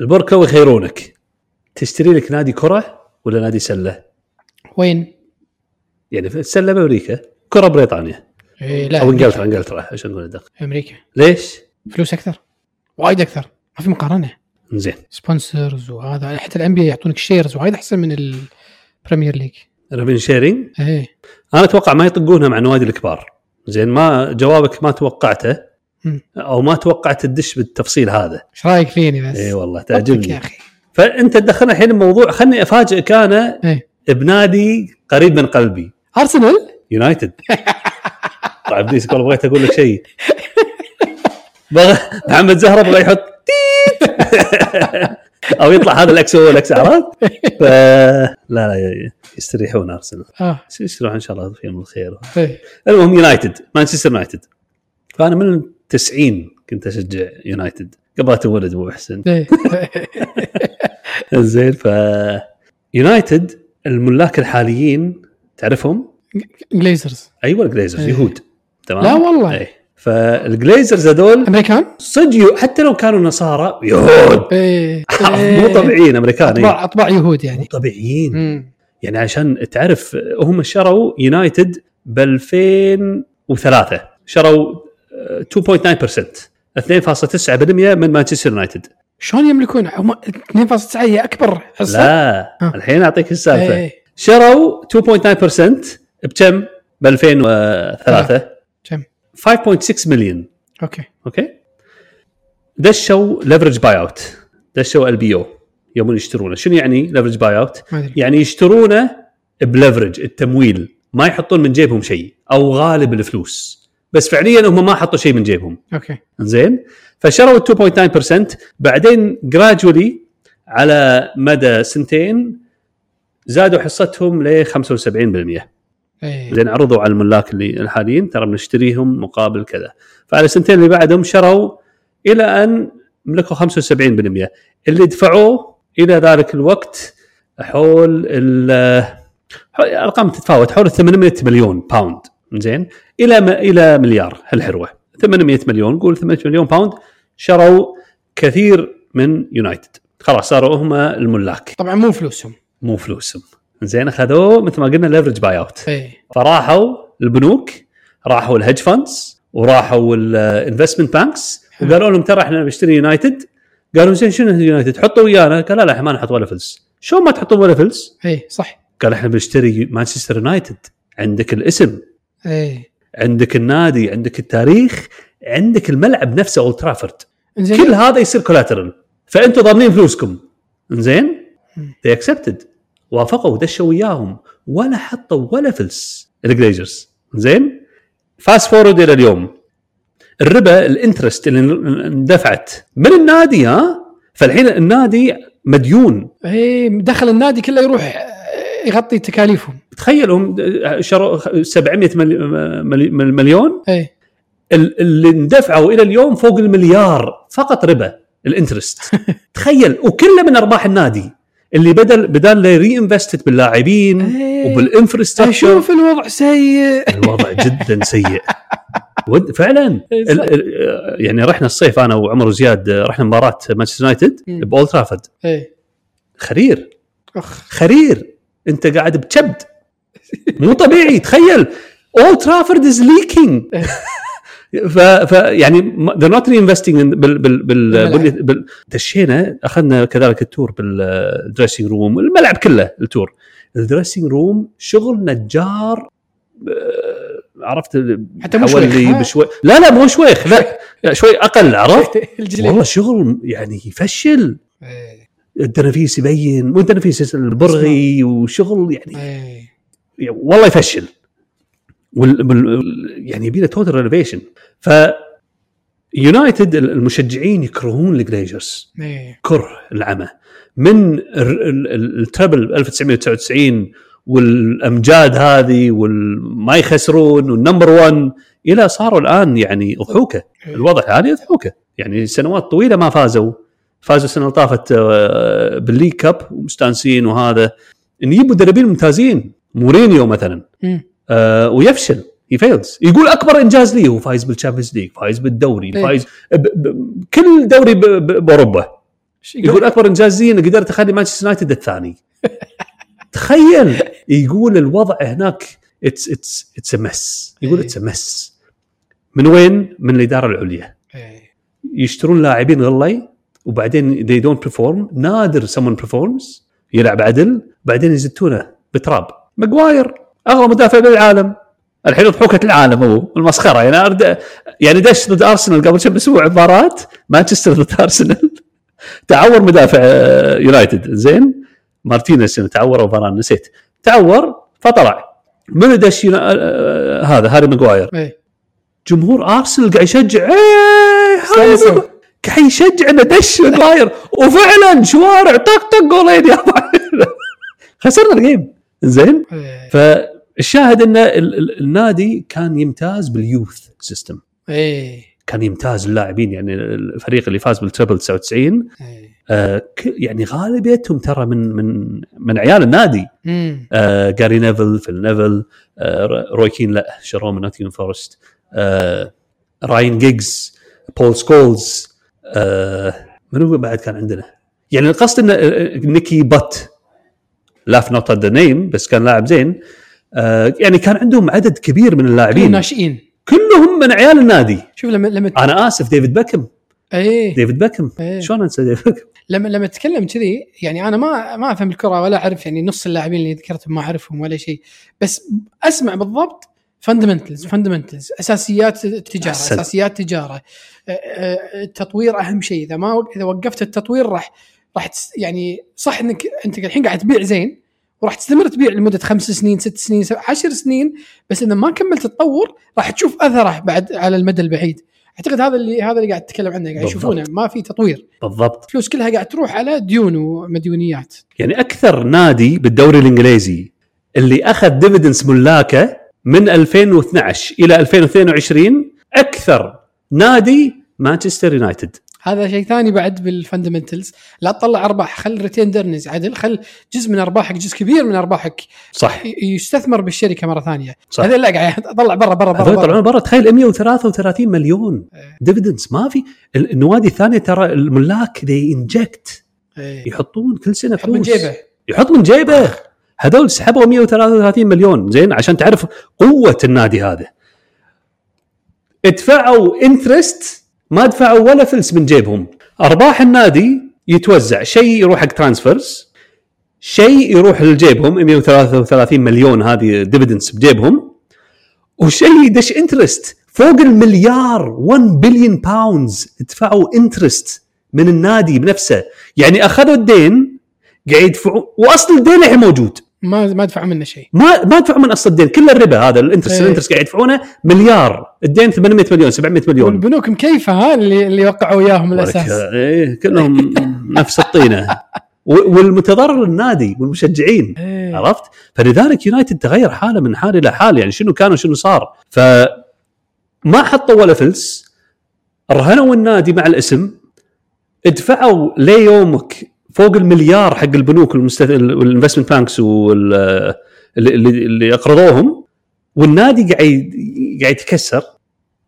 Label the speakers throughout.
Speaker 1: البركه ويخيرونك تشتري لك نادي كره ولا نادي سله؟
Speaker 2: وين؟
Speaker 1: يعني في السله بامريكا كره بريطانيا
Speaker 2: إيه لا
Speaker 1: او
Speaker 2: أمريكا.
Speaker 1: انجلترا انجلترا عشان نكون ادق
Speaker 2: امريكا
Speaker 1: ليش؟
Speaker 2: فلوس اكثر وايد اكثر ما في مقارنه
Speaker 1: زين
Speaker 2: سبونسرز وهذا حتى الان بي يعطونك شيرز وايد احسن من البريمير ليج
Speaker 1: ريفن شيرنج
Speaker 2: ايه
Speaker 1: انا اتوقع ما يطقونها مع النوادي الكبار زين ما جوابك ما توقعته
Speaker 2: مم.
Speaker 1: او ما توقعت تدش بالتفصيل هذا
Speaker 2: ايش رايك فيني بس؟
Speaker 1: اي والله
Speaker 2: ربك يا
Speaker 1: إيه، تعجبني
Speaker 2: اخي
Speaker 1: فانت تدخلنا الحين بموضوع خلني افاجئك انا
Speaker 2: إيه.
Speaker 1: بنادي قريب من قلبي
Speaker 2: ارسنال ي
Speaker 1: يونايتد طبعا ابليس يقول بغيت اقول لك شيء بغ- محمد زهره بغى يحط تيت او يطلع هذا الاكس هو الاكس عرفت؟ ف... لا لا يستريحون ارسنال
Speaker 2: اه
Speaker 1: يستريحون ان شاء الله فيهم الخير
Speaker 2: إيه.
Speaker 1: المهم يونايتد مانشستر يونايتد فانا من التسعين كنت اشجع يونايتد قبل لا تولد ابو حسن
Speaker 2: إيه.
Speaker 1: زين ف يونايتد الملاك الحاليين تعرفهم
Speaker 2: جليزرز
Speaker 1: ايوه الجليزرز
Speaker 2: إيه.
Speaker 1: يهود تمام
Speaker 2: لا والله.
Speaker 1: إيه. فالجليزرز هذول
Speaker 2: امريكان؟
Speaker 1: صدق حتى لو كانوا نصارى يهود
Speaker 2: ايه
Speaker 1: مو طبيعيين امريكان إيه.
Speaker 2: اطباع اطباع يهود
Speaker 1: مو
Speaker 2: يعني
Speaker 1: طبيعيين
Speaker 2: مم.
Speaker 1: يعني عشان تعرف هم شروا يونايتد ب 2003 شروا آه، 2.9% 2.9% من مانشستر يونايتد
Speaker 2: شلون يملكون هم 2.9 هي اكبر حصه
Speaker 1: لا
Speaker 2: آه.
Speaker 1: الحين اعطيك السالفه
Speaker 2: إيه.
Speaker 1: شروا 2.9% بكم ب 2003
Speaker 2: كم
Speaker 1: 5.6 مليون
Speaker 2: اوكي
Speaker 1: اوكي دشوا ليفرج باي اوت دشوا ال بي او يوم يشترونه شنو يعني ليفرج باي اوت؟
Speaker 2: ما ادري
Speaker 1: يعني يشترونه بلفرج التمويل ما يحطون من جيبهم شيء او غالب الفلوس بس فعليا هم ما حطوا شيء من جيبهم
Speaker 2: اوكي
Speaker 1: زين فشروا 2.9% بعدين جراجولي على مدى سنتين زادوا حصتهم ل 75%
Speaker 2: ايه
Speaker 1: زين عرضوا على الملاك اللي الحاليين ترى بنشتريهم مقابل كذا فعلى السنتين اللي بعدهم شروا الى ان ملكوا 75% اللي دفعوه الى ذلك الوقت حول ال حول- ارقام تتفاوت حول 800 مليون باوند زين الى م- الى مليار هالحروه 800 مليون قول 800 مليون باوند شروا كثير من يونايتد خلاص صاروا هم الملاك
Speaker 2: طبعا مو فلوسهم
Speaker 1: مو فلوسهم زين اخذوه مثل ما قلنا ليفرج باي اوت
Speaker 2: ايه
Speaker 1: فراحوا البنوك راحوا الهيدج فاندز وراحوا الانفستمنت بانكس
Speaker 2: حلو.
Speaker 1: وقالوا لهم ترى احنا بنشتري يونايتد قالوا زين شنو يونايتد حطوا ويانا قال لا لا احنا ما نحط ولا فلس شو ما تحطون ولا فلس
Speaker 2: ايه صح
Speaker 1: قال احنا بنشتري مانشستر يونايتد عندك الاسم
Speaker 2: ايه
Speaker 1: عندك النادي عندك التاريخ عندك الملعب نفسه اولد ترافورد
Speaker 2: انزين
Speaker 1: كل هذا يصير كولاترال فانتم ضامنين فلوسكم انزين
Speaker 2: مم.
Speaker 1: they accepted وافقوا دشوا وياهم ولا حطوا ولا فلس الجليزرز زين فاست فورورد الى اليوم الربا الانترست اللي اندفعت من النادي ها فالحين النادي مديون
Speaker 2: ايه دخل النادي كله يروح آه، يغطي تكاليفهم
Speaker 1: تخيلهم شروا 700 ملي- ملي- مليون
Speaker 2: ايه
Speaker 1: ال- اللي اندفعوا الى اليوم فوق المليار فقط ربا الانترست تخيل وكله من ارباح النادي اللي بدل بدل لا رينفستد باللاعبين
Speaker 2: إيه.
Speaker 1: وبالانفراستراكشر
Speaker 2: اشوف الوضع سيء
Speaker 1: الوضع جدا سيء ود- فعلا
Speaker 2: إيه،
Speaker 1: ال-
Speaker 2: صح.
Speaker 1: ال- يعني رحنا الصيف انا وعمر وزياد رحنا مباراه مانشستر يونايتد
Speaker 2: مم.
Speaker 1: باولد ترافورد
Speaker 2: ايه
Speaker 1: خرير
Speaker 2: اخ
Speaker 1: خرير انت قاعد بكبد مو طبيعي تخيل اول ترافورد از ليكينج ف, ف يعني ذا نوت انفستنج بال بال بال,
Speaker 2: بالملعب.
Speaker 1: بال دشينا اخذنا كذلك التور بالدريسنج روم الملعب كله التور الدريسنج روم شغل نجار آه، عرفت
Speaker 2: حتى إيه. مو
Speaker 1: حوالي
Speaker 2: شويخ، ها؟
Speaker 1: بشوي لا لا مو شويخ لا لا، شوي اقل عرفت
Speaker 2: الجليد
Speaker 1: والله شغل يعني يفشل
Speaker 2: ايه
Speaker 1: التنافيس يبين مو التنافيس البرغي وشغل يعني
Speaker 2: ايه
Speaker 1: والله يفشل وال وال- يعني يبي له توتال رينوفيشن ف يونايتد المشجعين يكرهون الجليزرز
Speaker 2: ايه
Speaker 1: كره العمى من ال- ال- ال- التربل 1999 والامجاد هذه والما يخسرون والنمبر 1 الى صاروا الان يعني اضحوكه الوضع هذه اضحوكه يعني سنوات طويله ما فازوا فازوا السنه اللي طافت آه، بالليج كاب ومستانسين وهذا نجيب مدربين ممتازين مورينيو مثلا
Speaker 2: مم.
Speaker 1: آه، ويفشل هي فيلز يقول اكبر انجاز لي هو فايز بالشامبيونز ليج فايز بالدوري
Speaker 2: إيه.
Speaker 1: فايز ب- ب- كل دوري ب- ب- باوروبا
Speaker 2: إيش
Speaker 1: يقول اكبر انجاز لي اني قدرت اخلي مانشستر يونايتد الثاني تخيل يقول الوضع هناك اتس اتس اتس مس يقول
Speaker 2: إيه.
Speaker 1: اتس مس من وين؟ من الاداره العليا
Speaker 2: إيه.
Speaker 1: يشترون لاعبين غلي وبعدين they don't perform نادر someone performs يلعب عدل بعدين يزتونه بتراب ماجواير اغلى مدافع بالعالم الحين ضحوكة العالم هو المسخرة يعني أرد... يعني دش ضد ارسنال قبل كم اسبوع مباراة مانشستر ضد ارسنال تعور مدافع آه، يونايتد زين مارتينيز هنا تعور وفران نسيت تعور فطلع من دش ينا- آه، آه، هذا هاري ماجواير
Speaker 2: إيه.
Speaker 1: جمهور ارسنال قاعد يشجع ايه هذا
Speaker 2: استانسوا.
Speaker 1: بقى- قاعد يشجع انه دش ماجواير وفعلا شوارع طق طق جولين يا أبو- خسرنا الجيم زين
Speaker 2: إيه.
Speaker 1: فالشاهد ان ال- ال- النادي كان يمتاز باليوث سيستم
Speaker 2: ايه
Speaker 1: كان يمتاز اللاعبين يعني الفريق اللي فاز بالتربل 99
Speaker 2: ايه
Speaker 1: آه ك- يعني غالبيتهم ترى من من من عيال النادي
Speaker 2: امم
Speaker 1: آه جاري نيفل فيل نيفل آه ر- روي كين لا شروه من نوتنغهام فورست آه راين جيجز بول سكولز آه من هو بعد كان عندنا يعني القصد ان آه، نيكي بات لاف نوت ذا نيم بس كان لاعب زين آه يعني كان عندهم عدد كبير من
Speaker 2: كلهم
Speaker 1: اللاعبين
Speaker 2: ناشئين
Speaker 1: كلهم من عيال النادي
Speaker 2: شوف لما لما
Speaker 1: انا اسف ديفيد بيكم
Speaker 2: ايه
Speaker 1: ديفيد بيكم
Speaker 2: إيه.
Speaker 1: شلون انسى ديفيد بيكم
Speaker 2: لما لما اتكلم كذي يعني انا ما ما افهم الكره ولا اعرف يعني نص اللاعبين اللي ذكرتهم ما اعرفهم ولا شيء بس اسمع بالضبط فندمنتلز فندمنتلز اساسيات التجاره
Speaker 1: أحسن.
Speaker 2: اساسيات تجاره التطوير اهم شيء اذا ما وق- اذا وقفت التطوير راح راح تس- يعني صح انك انت الحين قاعد تبيع زين وراح تستمر تبيع لمده خمس سنين ست سنين سبع عشر سنين بس اذا ما كملت تتطور راح تشوف اثره بعد على المدى البعيد اعتقد هذا اللي هذا اللي قاعد تتكلم عنه قاعد
Speaker 1: بالضبط.
Speaker 2: يشوفونه ما في تطوير
Speaker 1: بالضبط
Speaker 2: الفلوس كلها قاعد تروح على ديون ومديونيات
Speaker 1: يعني اكثر نادي بالدوري الانجليزي اللي اخذ ديفيدنس ملاكه من 2012 الى 2022 اكثر نادي مانشستر يونايتد
Speaker 2: هذا شيء ثاني بعد بالفندمنتلز لا تطلع ارباح خل ريتين ايرنز عدل خل جزء من ارباحك جزء كبير من ارباحك
Speaker 1: صح
Speaker 2: ي- يستثمر بالشركه مره ثانيه
Speaker 1: صح.
Speaker 2: هذا لا قاعد اطلع برا برا برا,
Speaker 1: هذول
Speaker 2: برا.
Speaker 1: طلعونا برا تخيل 133 مليون
Speaker 2: إيه.
Speaker 1: ديفيدنس ما في ال- النوادي الثانيه ترى الملاك ذي انجكت
Speaker 2: إيه.
Speaker 1: يحطون كل سنه
Speaker 2: يحط من
Speaker 1: فلوس
Speaker 2: جيبه
Speaker 1: يحط من جيبه هذول سحبوا 133 مليون زين عشان تعرف قوه النادي هذا ادفعوا انترست ما دفعوا ولا فلس من جيبهم ارباح النادي يتوزع شيء يروح حق ترانسفيرز شيء يروح لجيبهم 133 مليون هذه ديفيدنس بجيبهم وشيء يدش انترست فوق المليار 1 بليون باوندز دفعوا انترست من النادي بنفسه يعني اخذوا الدين قاعد يدفعون واصل الدين الحين موجود
Speaker 2: ما ما دفع منه شيء
Speaker 1: ما ما دفعوا من اصل الدين كل الربا هذا الانترست
Speaker 2: إيه.
Speaker 1: الانترست قاعد يدفعونه مليار الدين 800 مليون 700 مليون
Speaker 2: والبنوك مكيفه ها اللي اللي وقعوا وياهم من الاساس
Speaker 1: ولك- إيه كلهم نفس الطينه و- والمتضرر النادي والمشجعين
Speaker 2: إيه.
Speaker 1: عرفت؟ فلذلك يونايتد تغير حاله من حال الى حال يعني شنو كان وشنو صار فما حطوا ولا فلس رهنوا النادي مع الاسم ادفعوا ليومك فوق المليار حق البنوك والمست- والانفستمنت بانكس وال اللي, اللي- اللي اقرضوهم والنادي قاعد قاعد يتكسر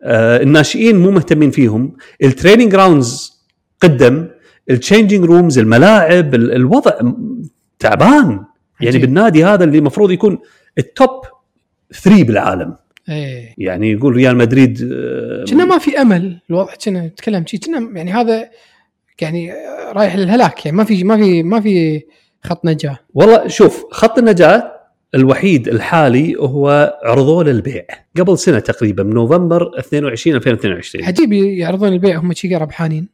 Speaker 1: آه، الناشئين مو مهتمين فيهم التريننج جراوندز قدم التشينجينج رومز الملاعب ال- الوضع م- تعبان يعني
Speaker 2: عجيب.
Speaker 1: بالنادي هذا اللي المفروض يكون التوب 3 بالعالم
Speaker 2: ايه
Speaker 1: يعني يقول ريال مدريد آه،
Speaker 2: كنا ما في امل الوضع كنا نتكلم شي كنا يعني هذا يعني رايح للهلاك يعني ما في ما في ما في خط نجاه
Speaker 1: والله شوف خط النجاة الوحيد الحالي هو عرضوه للبيع قبل سنه تقريبا من نوفمبر 22 2022
Speaker 2: عجيب يعرضون البيع هم شي ربحانين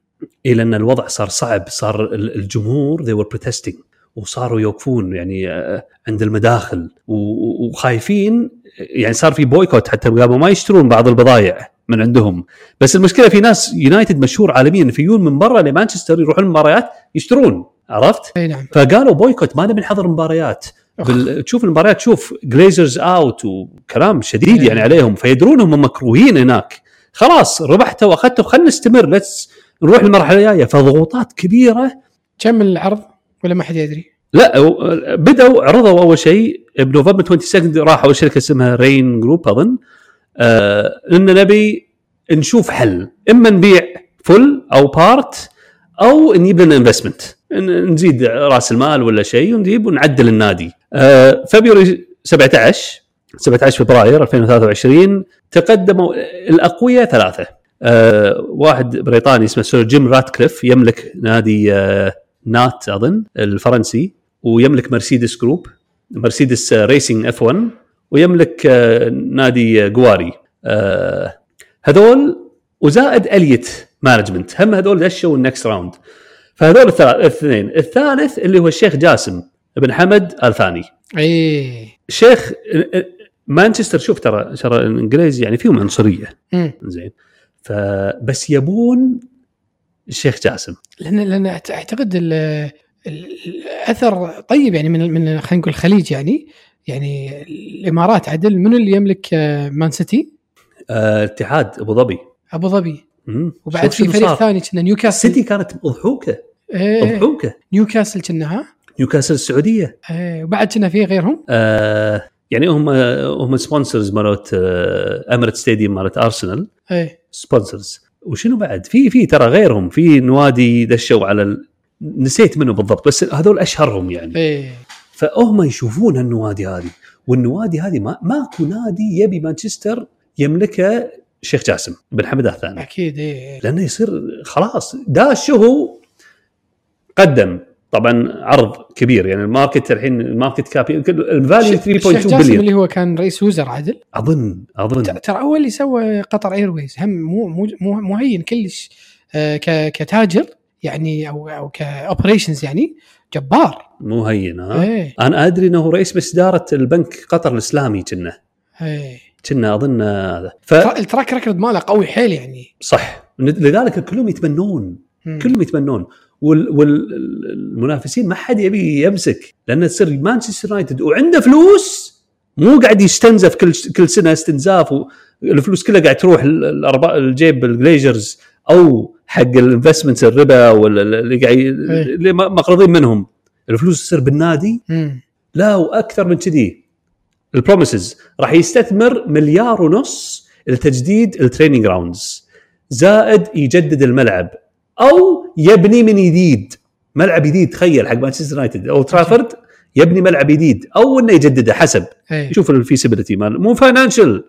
Speaker 1: اي لان الوضع صار صعب صار ال- الجمهور they were protesting وصاروا يوقفون يعني آه، عند المداخل و- و- وخايفين يعني صار في بويكوت حتى قاموا ما يشترون بعض البضائع من عندهم بس المشكله في ناس يونايتد مشهور عالميا إن في يجون من برا لمانشستر يروحون المباريات يشترون عرفت؟
Speaker 2: اي نعم
Speaker 1: فقالوا بويكوت ما نبي نحضر مباريات
Speaker 2: أخ.
Speaker 1: بال... تشوف المباريات تشوف جليزرز اوت وكلام شديد
Speaker 2: إيه.
Speaker 1: يعني عليهم فيدرون هم مكروهين هناك خلاص ربحتوا واخذتوا خلينا نستمر لتس نروح المرحله الجايه فضغوطات كبيره
Speaker 2: كم العرض ولا ما حد يدري
Speaker 1: لا و- بدأوا عرضوا اول شيء بنوفمبر 22 راحوا شركه اسمها رين جروب اظن آه ان نبي نشوف حل اما نبيع فل او بارت او نجيب لنا انفستمنت نزيد راس المال ولا شيء ونجيب ونعدل النادي آه، فبراير 17 17 فبراير 2023 تقدموا الاقوياء ثلاثه آه، واحد بريطاني اسمه سير جيم راتكليف يملك نادي آه، نات اظن الفرنسي ويملك مرسيدس جروب مرسيدس آه، ريسينج اف 1 ويملك آه، نادي آه، جواري آه، هذول وزائد اليت مانجمنت هم هذول دشوا النكست راوند فهذول الثلاث الاثنين الثالث اللي هو الشيخ جاسم بن حمد ال ثاني
Speaker 2: اي
Speaker 1: الشيخ آه، مانشستر شوف ترى ترى الانجليز يعني فيهم عنصريه
Speaker 2: مم.
Speaker 1: زين فبس يبون الشيخ جاسم
Speaker 2: لان لان أعت- اعتقد ال ال- الاثر طيب يعني من من خلينا نقول الخليج يعني يعني الامارات عدل من اللي يملك آه، مان سيتي؟
Speaker 1: آه اتحاد ابو ظبي
Speaker 2: ابو ظبي
Speaker 1: مم.
Speaker 2: وبعد
Speaker 1: شوف شنو
Speaker 2: في فريق
Speaker 1: صار.
Speaker 2: ثاني كنا نيوكاسل
Speaker 1: سيتي كانت مضحوكه
Speaker 2: إيه،
Speaker 1: مضحوكه
Speaker 2: نيوكاسل كنا ها
Speaker 1: نيوكاسل السعوديه
Speaker 2: إيه، وبعد كنا في غيرهم
Speaker 1: آه يعني هم هم سبونسرز مالت آه اميرت ستاديوم مالت ارسنال
Speaker 2: ايه
Speaker 1: سبونسرز وشنو بعد في في ترى غيرهم في نوادي دشوا على ال... نسيت منه بالضبط بس هذول اشهرهم يعني
Speaker 2: ايه
Speaker 1: فهم يشوفون النوادي هذه والنوادي هذه ما ماكو نادي يبي مانشستر يملكه شيخ جاسم بن حمد آل الثاني
Speaker 2: اكيد ايه
Speaker 1: لانه يصير خلاص داش هو قدم طبعا عرض كبير يعني الماركت الحين الماركت كاب الفاليو
Speaker 2: الشيخ- الشيخ
Speaker 1: 3.2
Speaker 2: جاسم
Speaker 1: بليون
Speaker 2: اللي هو كان رئيس وزراء عدل
Speaker 1: اظن
Speaker 2: ت-
Speaker 1: اظن
Speaker 2: ترى هو اللي سوى قطر ايرويز هم مو مو مو مهين كلش آه، ك- كتاجر يعني او او كاوبريشنز يعني جبار
Speaker 1: مو هين ها
Speaker 2: ايه
Speaker 1: انا ادري انه رئيس باداره البنك قطر الاسلامي كنا
Speaker 2: ايه
Speaker 1: كنا اظن هذا
Speaker 2: ترا- التراك ريكورد ماله قوي حيل يعني
Speaker 1: فصح لذلك كلهم يتمنون
Speaker 2: مم.
Speaker 1: كلهم يتمنون والمنافسين ما حد يبي يمسك لان تصير مانشستر يونايتد وعنده فلوس مو قاعد يستنزف كل كل سنه استنزاف والفلوس كلها قاعد تروح ال- الأربا- الجيب الجليجرز او حق الانفستمنت الربا ولا اللي قاعد ي- اللي م- مقرضين منهم الفلوس تصير بالنادي
Speaker 2: مم.
Speaker 1: لا واكثر من كذي البروميسز راح يستثمر مليار ونص لتجديد التريننج راوندز زائد يجدد الملعب او يبني من جديد ملعب جديد تخيل حق مانشستر يونايتد او ترافورد يبني ملعب جديد او انه يجدده حسب
Speaker 2: ايه
Speaker 1: شوف الفيسبيليتي مال مو فاينانشال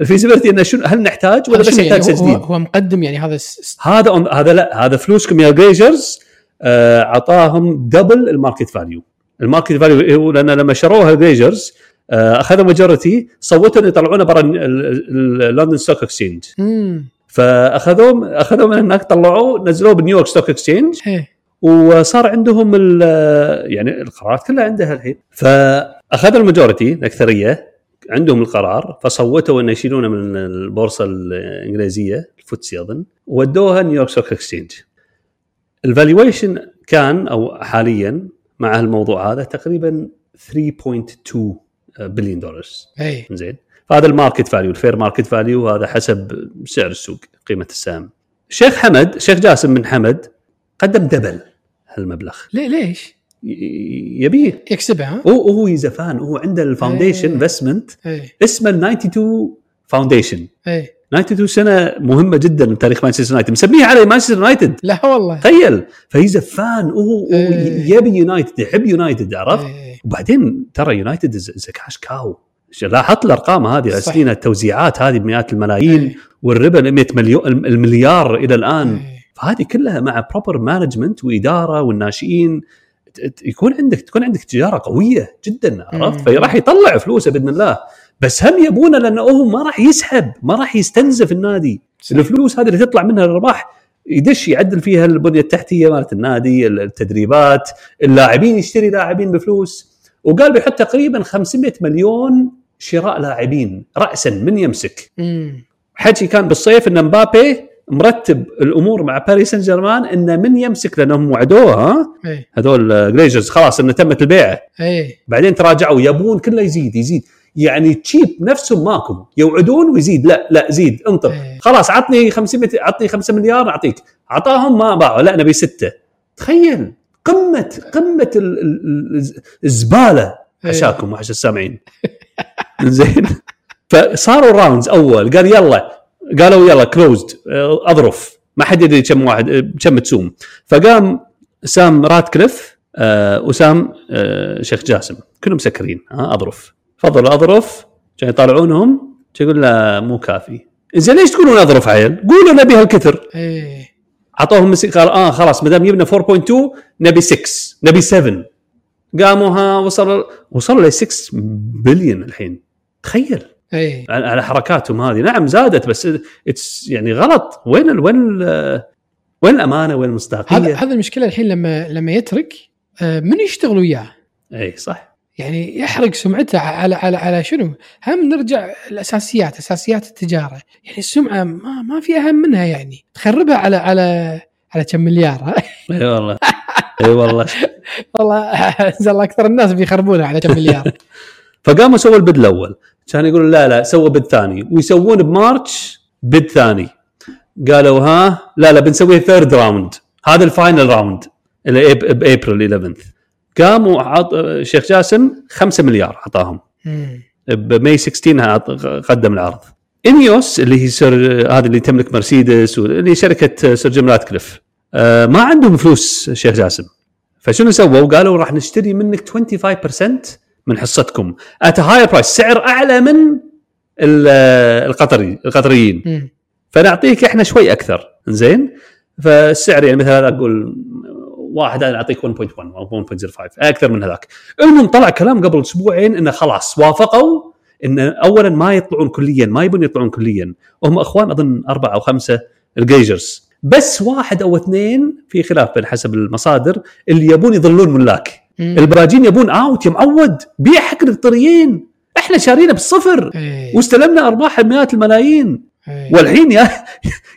Speaker 1: الفيسبيليتي انه شنو هل نحتاج ولا
Speaker 2: هذا
Speaker 1: بس
Speaker 2: شنو
Speaker 1: نحتاج
Speaker 2: يعني هو,
Speaker 1: تجديد
Speaker 2: هو مقدم يعني هذا س- س-
Speaker 1: هذا أم- هذا لا هذا فلوسكم يا جليجرز آه، اعطاهم دبل الماركت فاليو الماركت فاليو لان لما شروها الجليجرز آه، اخذوا ماجورتي صوتوا إن يطلعونه برا ال- ال- ال- لندن ستوك اكسشينج
Speaker 2: مم.
Speaker 1: فاخذوهم اخذوه من هناك طلعوه نزلوه بنيويورك ستوك اكسشينج
Speaker 2: ايه
Speaker 1: وصار عندهم ال- يعني القرارات كلها عندها الحين فاخذوا الماجورتي الاكثريه عندهم القرار فصوتوا انه يشيلونه من البورصه الانجليزيه الفوتسي اظن ودوها نيويورك ستوك اكسشينج الفالويشن كان او حاليا مع الموضوع هذا تقريبا 3.2 بليون دولار
Speaker 2: ايه
Speaker 1: زين فهذا الماركت فاليو الفير ماركت فاليو هذا حسب سعر السوق قيمه السهم شيخ حمد شيخ جاسم بن حمد قدم دبل هالمبلغ
Speaker 2: ليه ليش؟
Speaker 1: ي- ي- يبيه
Speaker 2: يكسبها ها؟
Speaker 1: هو هو زفان هو عنده الفاونديشن
Speaker 2: إيه.
Speaker 1: انفستمنت
Speaker 2: ايه
Speaker 1: اسمه ال 92 فاونديشن
Speaker 2: ايه
Speaker 1: 92 سنه مهمه جدا بتاريخ مانشستر يونايتد مسميه على مانشستر يونايتد
Speaker 2: لا والله
Speaker 1: تخيل فهي زفان وهو وهو
Speaker 2: إيه.
Speaker 1: يبي يونايتد يحب يونايتد عرفت؟
Speaker 2: إيه.
Speaker 1: وبعدين ترى يونايتد از كاش كاو لاحظت الارقام هذه
Speaker 2: صح.
Speaker 1: سنين التوزيعات هذه بمئات الملايين
Speaker 2: إيه.
Speaker 1: والربا ال 100 مليون المليار الى الان
Speaker 2: إيه.
Speaker 1: فهذه كلها مع بروبر مانجمنت واداره والناشئين ت- ت- يكون عندك تكون عندك تجاره قويه جدا
Speaker 2: مم.
Speaker 1: عرفت فراح يطلع فلوسه باذن الله بس هم يبونه لانه هو ما راح يسحب ما راح يستنزف النادي
Speaker 2: صح.
Speaker 1: الفلوس هذه اللي تطلع منها الارباح يدش يعدل فيها البنيه التحتيه مالت النادي التدريبات اللاعبين يشتري لاعبين بفلوس وقال بيحط تقريبا 500 مليون شراء لاعبين راسا من يمسك
Speaker 2: مم.
Speaker 1: حكي كان بالصيف ان مبابي مرتب الامور مع باريس سان جيرمان انه من يمسك لانهم وعدوه ها
Speaker 2: ايه
Speaker 1: هذول جليجرز خلاص انه تمت البيعه
Speaker 2: ايه
Speaker 1: بعدين تراجعوا يبون كله يزيد يزيد يعني تشيب نفسهم ماكم يوعدون ويزيد لا لا زيد انطر
Speaker 2: إيه.
Speaker 1: خلاص عطني 500 عطني 5 مليار اعطيك عطاهم ما باعوا لا نبي سته تخيل قمه قمه ال- ال- ال- الزباله
Speaker 2: إيه.
Speaker 1: عشاكم وعشا السامعين زين فصاروا راوندز اول قال يلا قالوا يلا كلوزد اظرف آه، ما حد يدري كم واحد آه، كم تسوم فقام سام راتكليف آه وسام آه شيخ جاسم كلهم مسكرين آه اظرف فضلوا اظرف كانوا يطالعونهم يقول له مو كافي زين ليش تقولون اظرف عيل؟ قولوا نبي هالكثر
Speaker 2: ايه
Speaker 1: اعطوهم مسك- قال اه خلاص ما دام جبنا 4.2 نبي 6 نبي 7 قاموا ها وصلوا وصلوا ل 6 بليون الحين تخيل
Speaker 2: ايه
Speaker 1: على على حركاتهم هذه نعم زادت بس اتس يعني غلط وين ال وين ال وين الامانه وين
Speaker 2: هذا
Speaker 1: المصداقيه
Speaker 2: هذا المشكله الحين لما لما يترك آه، من يشتغل وياه؟
Speaker 1: اي إيه، صح
Speaker 2: يعني يحرق سمعته على على على شنو؟ هم نرجع الاساسيات اساسيات التجاره، يعني السمعه ما ما في اهم منها يعني، تخربها على على على كم مليار ها؟
Speaker 1: اي إيه والله اي والله
Speaker 2: والله أحس الله اكثر الناس بيخربونها على كم مليار.
Speaker 1: فقاموا سووا البد الاول كان يقولون لا لا سووا بد ثاني ويسوون بمارتش بد ثاني قالوا ها لا لا بنسويه ثيرد راوند هذا الفاينل راوند اللي بأب- بابريل 11 قاموا عط... شيخ جاسم 5 مليار اعطاهم
Speaker 2: أمم.
Speaker 1: بماي 16 عط- قدم العرض انيوس اللي هي سر هذا اللي تملك مرسيدس واللي شركه سير جيم راتكليف آه، ما عندهم فلوس شيخ جاسم فشنو سووا؟ قالوا راح نشتري منك 25% من حصتكم ات هاي برايس سعر اعلى من ال- القطري القطريين
Speaker 2: أمم.
Speaker 1: فنعطيك احنا شوي اكثر زين فالسعر يعني مثلا اقول واحد انا اعطيك 1.1 او 1.05 اكثر من هذاك المهم طلع كلام قبل اسبوعين انه خلاص وافقوا انه اولا ما يطلعون كليا ما يبون يطلعون كليا وهم اخوان اظن اربعه او خمسه الجيجرز بس واحد او اثنين في خلاف بين حسب المصادر اللي يبون يظلون ملاك
Speaker 2: أمم.
Speaker 1: البراجين يبون اوت يا معود بيع حق القطريين احنا شارينا بالصفر
Speaker 2: إيه.
Speaker 1: واستلمنا ارباح مئات الملايين
Speaker 2: إيه.
Speaker 1: والحين يا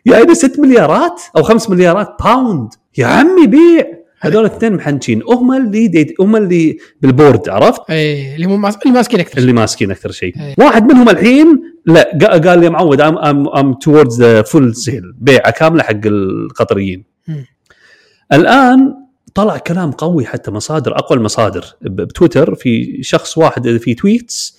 Speaker 1: يا إلى 6 مليارات او 5 مليارات باوند يا عمي بيع هذول الاثنين محنشين هم اللي دي- هم اللي بالبورد عرفت
Speaker 2: ايه اللي مو ماس- اللي ماسكين اكثر
Speaker 1: اللي ماسكين اكثر شيء
Speaker 2: إيه.
Speaker 1: واحد منهم الحين لا قا- قال لي معود ام ام ام توردز ذا فول سيل بيعه كامله حق القطريين
Speaker 2: مم.
Speaker 1: الان طلع كلام قوي حتى مصادر اقوى المصادر ب- بتويتر في شخص واحد في تويتس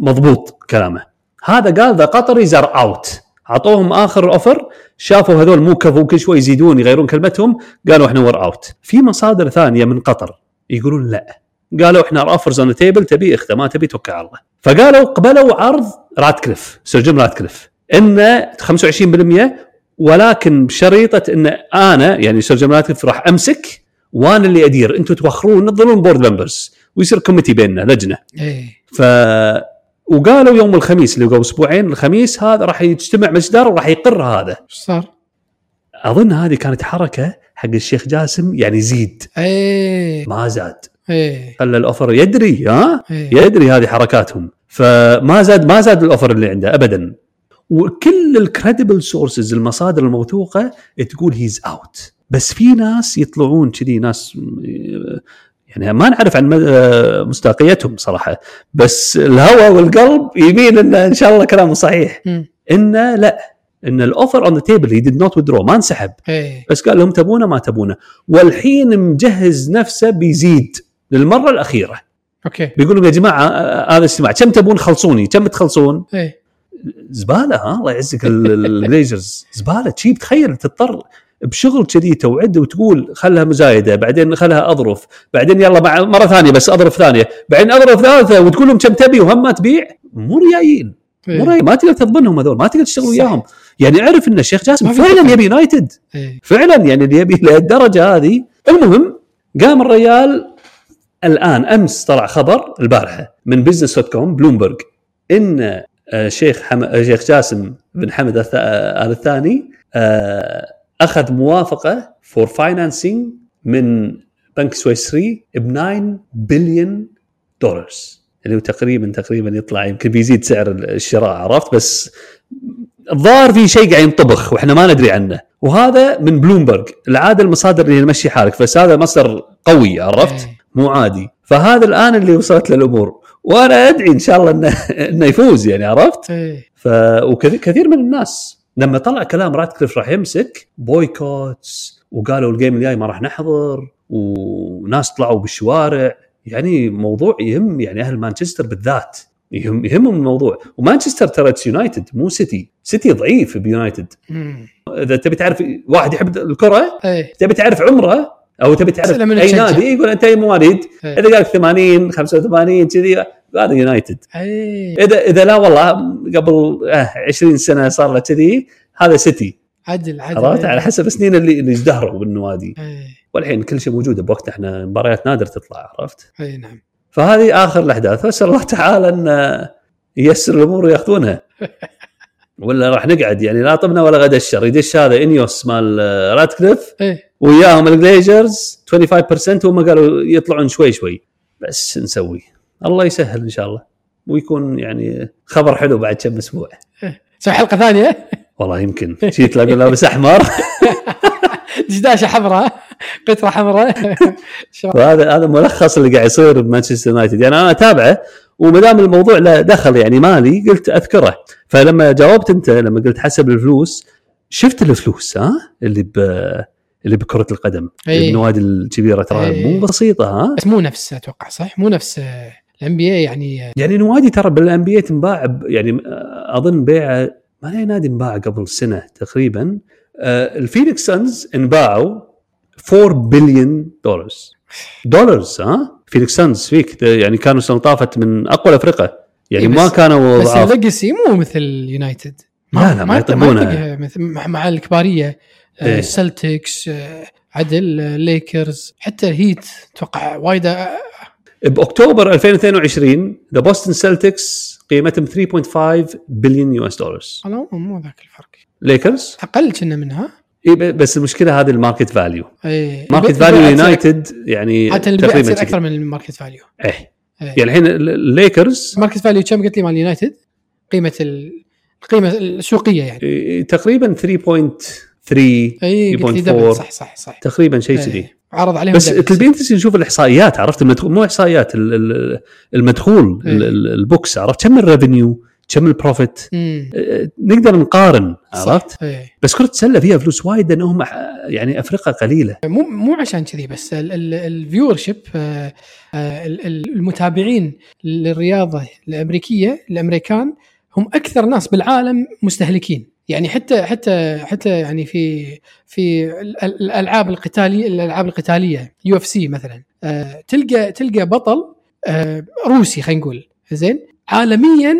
Speaker 1: مضبوط كلامه هذا قال ذا قطري زر اوت اعطوهم اخر اوفر شافوا هذول مو كفو كل شوي يزيدون يغيرون كلمتهم قالوا احنا ور اوت في مصادر ثانيه من قطر يقولون لا قالوا احنا اوفرز اون تيبل تبي اخته ما تبي توكل على الله فقالوا قبلوا عرض راتكليف سير جيم راتكليف انه 25% ولكن بشريطه ان انا يعني سير جيم راتكليف راح امسك وانا اللي ادير انتم توخرون تظلون بورد ممبرز ويصير كوميتي بيننا لجنه
Speaker 2: ايه
Speaker 1: ف وقالوا يوم الخميس اللي قبل اسبوعين الخميس هذا راح يجتمع مجدر وراح يقر هذا
Speaker 2: ايش صار؟
Speaker 1: اظن هذه كانت حركه حق الشيخ جاسم يعني زيد
Speaker 2: ايه
Speaker 1: ما زاد
Speaker 2: ايه
Speaker 1: خلى الاوفر يدري ها
Speaker 2: ايه
Speaker 1: يدري هذه حركاتهم فما زاد ما زاد الاوفر اللي عنده ابدا وكل الكريدبل سورسز المصادر الموثوقه تقول هيز اوت بس في ناس يطلعون كذي ناس م- يعني ما نعرف عن مدى مصداقيتهم صراحه بس الهوى والقلب يمين انه ان شاء الله كلامه صحيح
Speaker 2: مم.
Speaker 1: انه لا ان الاوفر اون ذا تيبل هي ديد نوت withdraw ما انسحب
Speaker 2: ايه
Speaker 1: بس قال لهم تبونه ما تبونه والحين مجهز نفسه بيزيد للمره الاخيره
Speaker 2: اوكي
Speaker 1: بيقول لهم يا جماعه آه، هذا الاجتماع كم تبون خلصوني كم تخلصون
Speaker 2: ايه
Speaker 1: زباله ها الله يعزك ال- الجليزرز زباله تشيب تخيل تضطر بشغل كذي توعد وتقول خلها مزايده بعدين خلها اظرف بعدين يلا مع مره ثانيه بس اظرف ثانيه بعدين اظرف ثالثه وتقول لهم كم تبي وهم ما تبيع مو ريايين مو
Speaker 2: ايه
Speaker 1: ريايين ما تقدر تضمنهم هذول ما تقدر تشتغل
Speaker 2: صح.
Speaker 1: وياهم يعني اعرف ان الشيخ جاسم
Speaker 2: ما في
Speaker 1: فعلا
Speaker 2: دخل.
Speaker 1: يبي يونايتد
Speaker 2: ايه
Speaker 1: فعلا يعني اللي يبي لهالدرجه هذه المهم قام الريال الان امس طلع خبر البارحه من بزنس دوت كوم بلومبرج ان آه، شيخ حم... آه، شيخ جاسم بن حمد الث- آه، ال الثاني آه، اخذ موافقه فور فاينانسينج من بنك سويسري ب 9 بليون دولار اللي يعني هو تقريبا تقريبا يطلع يمكن بيزيد سعر الشراء عرفت بس الظاهر في شيء قاعد ينطبخ واحنا ما ندري عنه وهذا من بلومبرج العاده المصادر اللي مشي حالك بس هذا مصدر قوي عرفت
Speaker 2: إيه.
Speaker 1: مو عادي فهذا الان اللي وصلت له الامور وانا ادعي ان شاء الله انه انه يفوز يعني عرفت
Speaker 2: ايه
Speaker 1: ف وكثير من الناس لما طلع كلام راتكليف راح يمسك بويكوتس وقالوا الجيم الجاي ما راح نحضر وناس طلعوا بالشوارع يعني موضوع يهم يعني اهل مانشستر بالذات يهم يهمهم الموضوع ومانشستر ترى اتس يونايتد مو سيتي سيتي ضعيف بيونايتد
Speaker 2: مم.
Speaker 1: اذا تبي تعرف واحد يحب الكره
Speaker 2: ايه
Speaker 1: تبي تعرف عمره او تبي تعرف
Speaker 2: أسئلة من
Speaker 1: اي
Speaker 2: تشجع.
Speaker 1: نادي يقول انت اي مواليد
Speaker 2: إيه.
Speaker 1: اذا قال لك 80 85 كذي هذا يونايتد
Speaker 2: ايه
Speaker 1: اذا اذا لا والله قبل آه 20 سنه صار له كذي هذا سيتي
Speaker 2: عدل عدل
Speaker 1: عرفت
Speaker 2: إيه.
Speaker 1: على حسب السنين اللي اللي ازدهروا بالنوادي
Speaker 2: ايه
Speaker 1: والحين كل شيء موجود بوقت احنا مباريات نادر تطلع عرفت
Speaker 2: ايه نعم
Speaker 1: فهذه اخر الاحداث فاسال الله تعالى ان ييسر الامور وياخذونها ولا راح نقعد يعني لا طبنا ولا غدا الشر يدش هذا انيوس مال آه، راتكليف
Speaker 2: ايه
Speaker 1: وياهم الجليجرز 25% هم قالوا يطلعون شوي شوي بس نسوي الله يسهل ان شاء الله ويكون يعني خبر حلو بعد كم اسبوع
Speaker 2: سوي حلقه ثانيه
Speaker 1: والله يمكن شي تلاقون لابس احمر
Speaker 2: دشداشه حمراء قطره حمراء شباب.
Speaker 1: وهذا هذا ملخص اللي قاعد يصير بمانشستر يونايتد يعني انا اتابعه وما دام الموضوع له دخل يعني مالي قلت اذكره فلما جاوبت انت لما قلت حسب الفلوس شفت الفلوس ها اللي ب اللي بكره القدم اللي
Speaker 2: إيه.
Speaker 1: بالنوادي الكبيره ترى
Speaker 2: إيه.
Speaker 1: مو بسيطه ها
Speaker 2: بس مو نفس اتوقع صح مو نفس الام بي اي يعني آه،
Speaker 1: يعني نوادي ترى بالان بي تنباع ب- يعني آه، اظن بيعه ما لي نادي انباع قبل سنه تقريبا آه، الفينيكس سانز انباعوا 4 بليون دولار دولارز ها فينيكس سانز فيك ده يعني كانوا السنه طافت من اقوى الافرقه يعني
Speaker 2: إيه،
Speaker 1: ما
Speaker 2: بس-
Speaker 1: كانوا
Speaker 2: بس
Speaker 1: ضعاف
Speaker 2: الليجسي مو مثل يونايتد
Speaker 1: لا، لا، ما يطبونه.
Speaker 2: يطقها مثل مع مع الكباريه
Speaker 1: إيه.
Speaker 2: آه، السلتكس آه، عدل آه، ليكرز حتى الهيت اتوقع وايد آه،
Speaker 1: باكتوبر 2022 ذا بوستن سيلتكس قيمتهم 3.5 بليون يو اس دولار
Speaker 2: والله مو- مو ذاك الفرق
Speaker 1: ليكرز
Speaker 2: اقل كنا منها
Speaker 1: إيه، ب- بس المشكله هذه الماركت فاليو
Speaker 2: اي
Speaker 1: ماركت
Speaker 2: البيع-
Speaker 1: فاليو
Speaker 2: البيع تصير-
Speaker 1: يونايتد يعني
Speaker 2: حتى البيع
Speaker 1: تقريبا
Speaker 2: يصير
Speaker 1: كذي.
Speaker 2: اكثر من الماركت فاليو
Speaker 1: ايه
Speaker 2: إيه.
Speaker 1: يعني الحين ال- الليكرز
Speaker 2: ماركت فاليو كم قلت لي مال اليونايتد قيمه ال- القيمه السوقيه يعني
Speaker 1: إيه، تقريبا 3.3
Speaker 2: اي قلت لي
Speaker 1: 3.4.
Speaker 2: دبل صح صح صح
Speaker 1: تقريبا شيء كذي
Speaker 2: إيه. عرض عليهم
Speaker 1: بس
Speaker 2: دبل.
Speaker 1: تبين تصير نشوف الاحصائيات عرفت المدخول مو احصائيات ال- ال- المدخول
Speaker 2: إيه.
Speaker 1: ال- ال- البوكس عرفت كم الريفنيو كم البروفيت
Speaker 2: أمم.
Speaker 1: إيه، نقدر نقارن
Speaker 2: صح.
Speaker 1: عرفت
Speaker 2: إيه.
Speaker 1: بس كره السله فيها فلوس وايد لانهم أح- يعني افرقه قليله
Speaker 2: مو مو عشان كذي بس الفيور شيب آه، المتابعين للرياضه الامريكيه الامريكان هم اكثر ناس بالعالم مستهلكين يعني حتى حتى حتى يعني في في ال- ال- الالعاب القتاليه الالعاب القتاليه يو اف سي مثلا آه، تلقى تلقى بطل آه، روسي خلينا نقول زين عالميا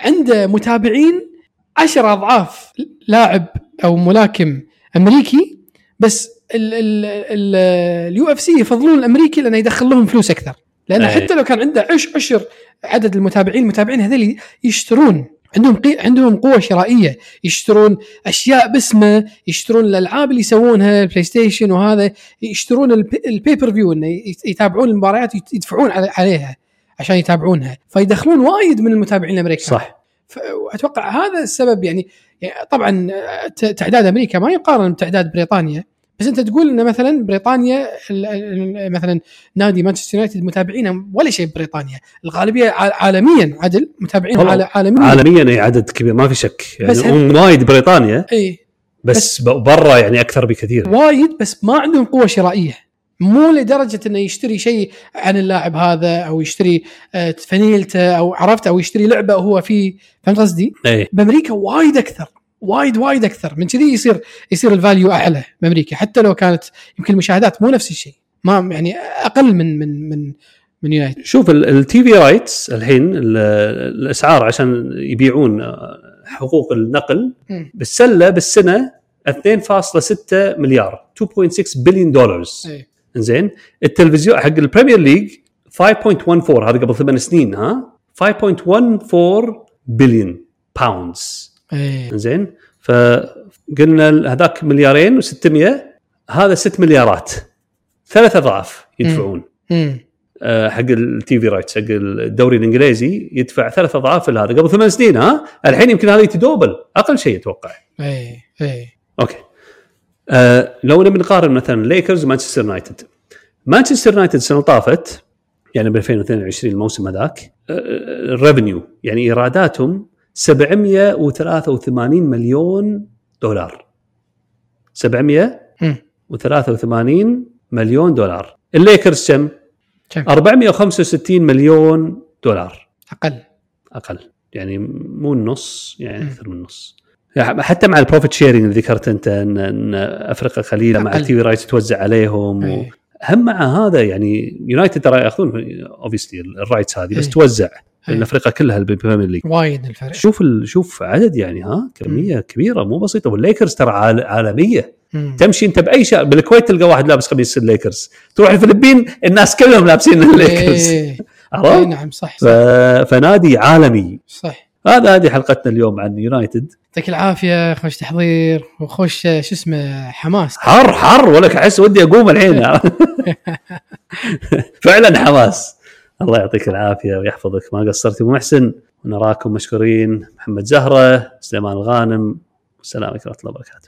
Speaker 2: عنده متابعين عشر اضعاف لاعب او ملاكم امريكي بس اليو اف سي يفضلون الامريكي لانه يدخل لهم فلوس اكثر لان
Speaker 1: أي.
Speaker 2: حتى لو كان عنده عش عشر عدد المتابعين المتابعين هذول يشترون عندهم قي... عندهم قوه شرائيه يشترون اشياء باسمه يشترون الالعاب اللي يسوونها البلاي ستيشن وهذا يشترون الب- البيبر فيو انه يت- يتابعون المباريات يت- يدفعون على- عليها عشان يتابعونها فيدخلون وايد من المتابعين الامريكان
Speaker 1: صح
Speaker 2: ف- واتوقع هذا السبب يعني, يعني طبعا ت- تعداد امريكا ما يقارن بتعداد بريطانيا بس انت تقول ان مثلا بريطانيا ال- ال- مثلا نادي مانشستر يونايتد متابعينه ولا شيء بريطانيا الغالبيه عال- عالميا عدل متابعين
Speaker 1: طبعاً.
Speaker 2: عال- عالميا
Speaker 1: عالميا أي إيه، عدد كبير ما في شك يعني
Speaker 2: بس هل-
Speaker 1: هم وايد بريطانيا
Speaker 2: اي
Speaker 1: بس, ب- برا يعني اكثر بكثير
Speaker 2: وايد بس ما عندهم قوه شرائيه مو لدرجه انه يشتري شيء عن اللاعب هذا او يشتري آه، فنيلته او عرفت او يشتري لعبه هو فيه فهمت قصدي؟
Speaker 1: ايه
Speaker 2: بامريكا وايد اكثر وايد وايد اكثر من كذي يصير يصير الفاليو اعلى بامريكا حتى لو كانت يمكن المشاهدات مو نفس الشيء ما يعني اقل من من من من يونايتد
Speaker 1: شوف التي في رايتس الحين ال- الاسعار عشان يبيعون آه، حقوق النقل
Speaker 2: مم.
Speaker 1: بالسله بالسنه 2.6 مليار 2.6 بليون دولار
Speaker 2: إيه.
Speaker 1: زين التلفزيون حق البريمير ليج 5.14 هذا قبل ثمان سنين ها 5.14 بليون باوندز
Speaker 2: ايه
Speaker 1: زين فقلنا ال- هذاك مليارين و600 هذا 6 مليارات ثلاث اضعاف يدفعون
Speaker 2: مم.
Speaker 1: آه، حق التي في رايتس حق الدوري الانجليزي يدفع ثلاث اضعاف لهذا قبل ثمان سنين ها الحين يمكن هذا يتدوبل اقل شيء اتوقع
Speaker 2: ايه ايه
Speaker 1: اوكي آه لو نبي نقارن مثلا ليكرز ومانشستر يونايتد مانشستر يونايتد السنه اللي طافت يعني ب 2022 الموسم هذاك الريفنيو يعني ايراداتهم 783 مليون دولار 783
Speaker 2: مم.
Speaker 1: مليون دولار الليكرز كم؟
Speaker 2: كم
Speaker 1: 465 مليون دولار
Speaker 2: اقل
Speaker 1: اقل يعني مو النص يعني اكثر من النص حتى مع البروفيت شيرنج اللي ذكرت انت ان, إن افريقيا قليله مع
Speaker 2: أقل.
Speaker 1: التي في رايتس توزع عليهم و...
Speaker 2: إيه.
Speaker 1: هم مع هذا يعني يونايتد ترى ياخذون اوبسلي الرايتس هذه بس
Speaker 2: إيه.
Speaker 1: توزع لان
Speaker 2: إيه.
Speaker 1: افريقيا كلها البريمير ليج
Speaker 2: وايد الفرق
Speaker 1: شوف ال... شوف عدد يعني ها كميه كبيره مو بسيطه والليكرز ترى عال... عالميه
Speaker 2: مم.
Speaker 1: تمشي انت باي شارع بالكويت تلقى واحد لابس قميص الليكرز تروح الفلبين الناس كلهم لابسين الليكرز
Speaker 2: إيه. إيه،
Speaker 1: عرفت؟
Speaker 2: نعم صح
Speaker 1: ف...
Speaker 2: صح,
Speaker 1: فنادي عالمي
Speaker 2: صح.
Speaker 1: هذا هذه حلقتنا اليوم عن يونايتد
Speaker 2: يعطيك العافيه خوش تحضير وخوش شو اسمه حماس
Speaker 1: حر حر ولك احس ودي اقوم الحين فعلا حماس الله يعطيك العافيه ويحفظك ما قصرت ابو محسن ونراكم مشكورين محمد زهره سليمان الغانم والسلام عليكم ورحمه الله وبركاته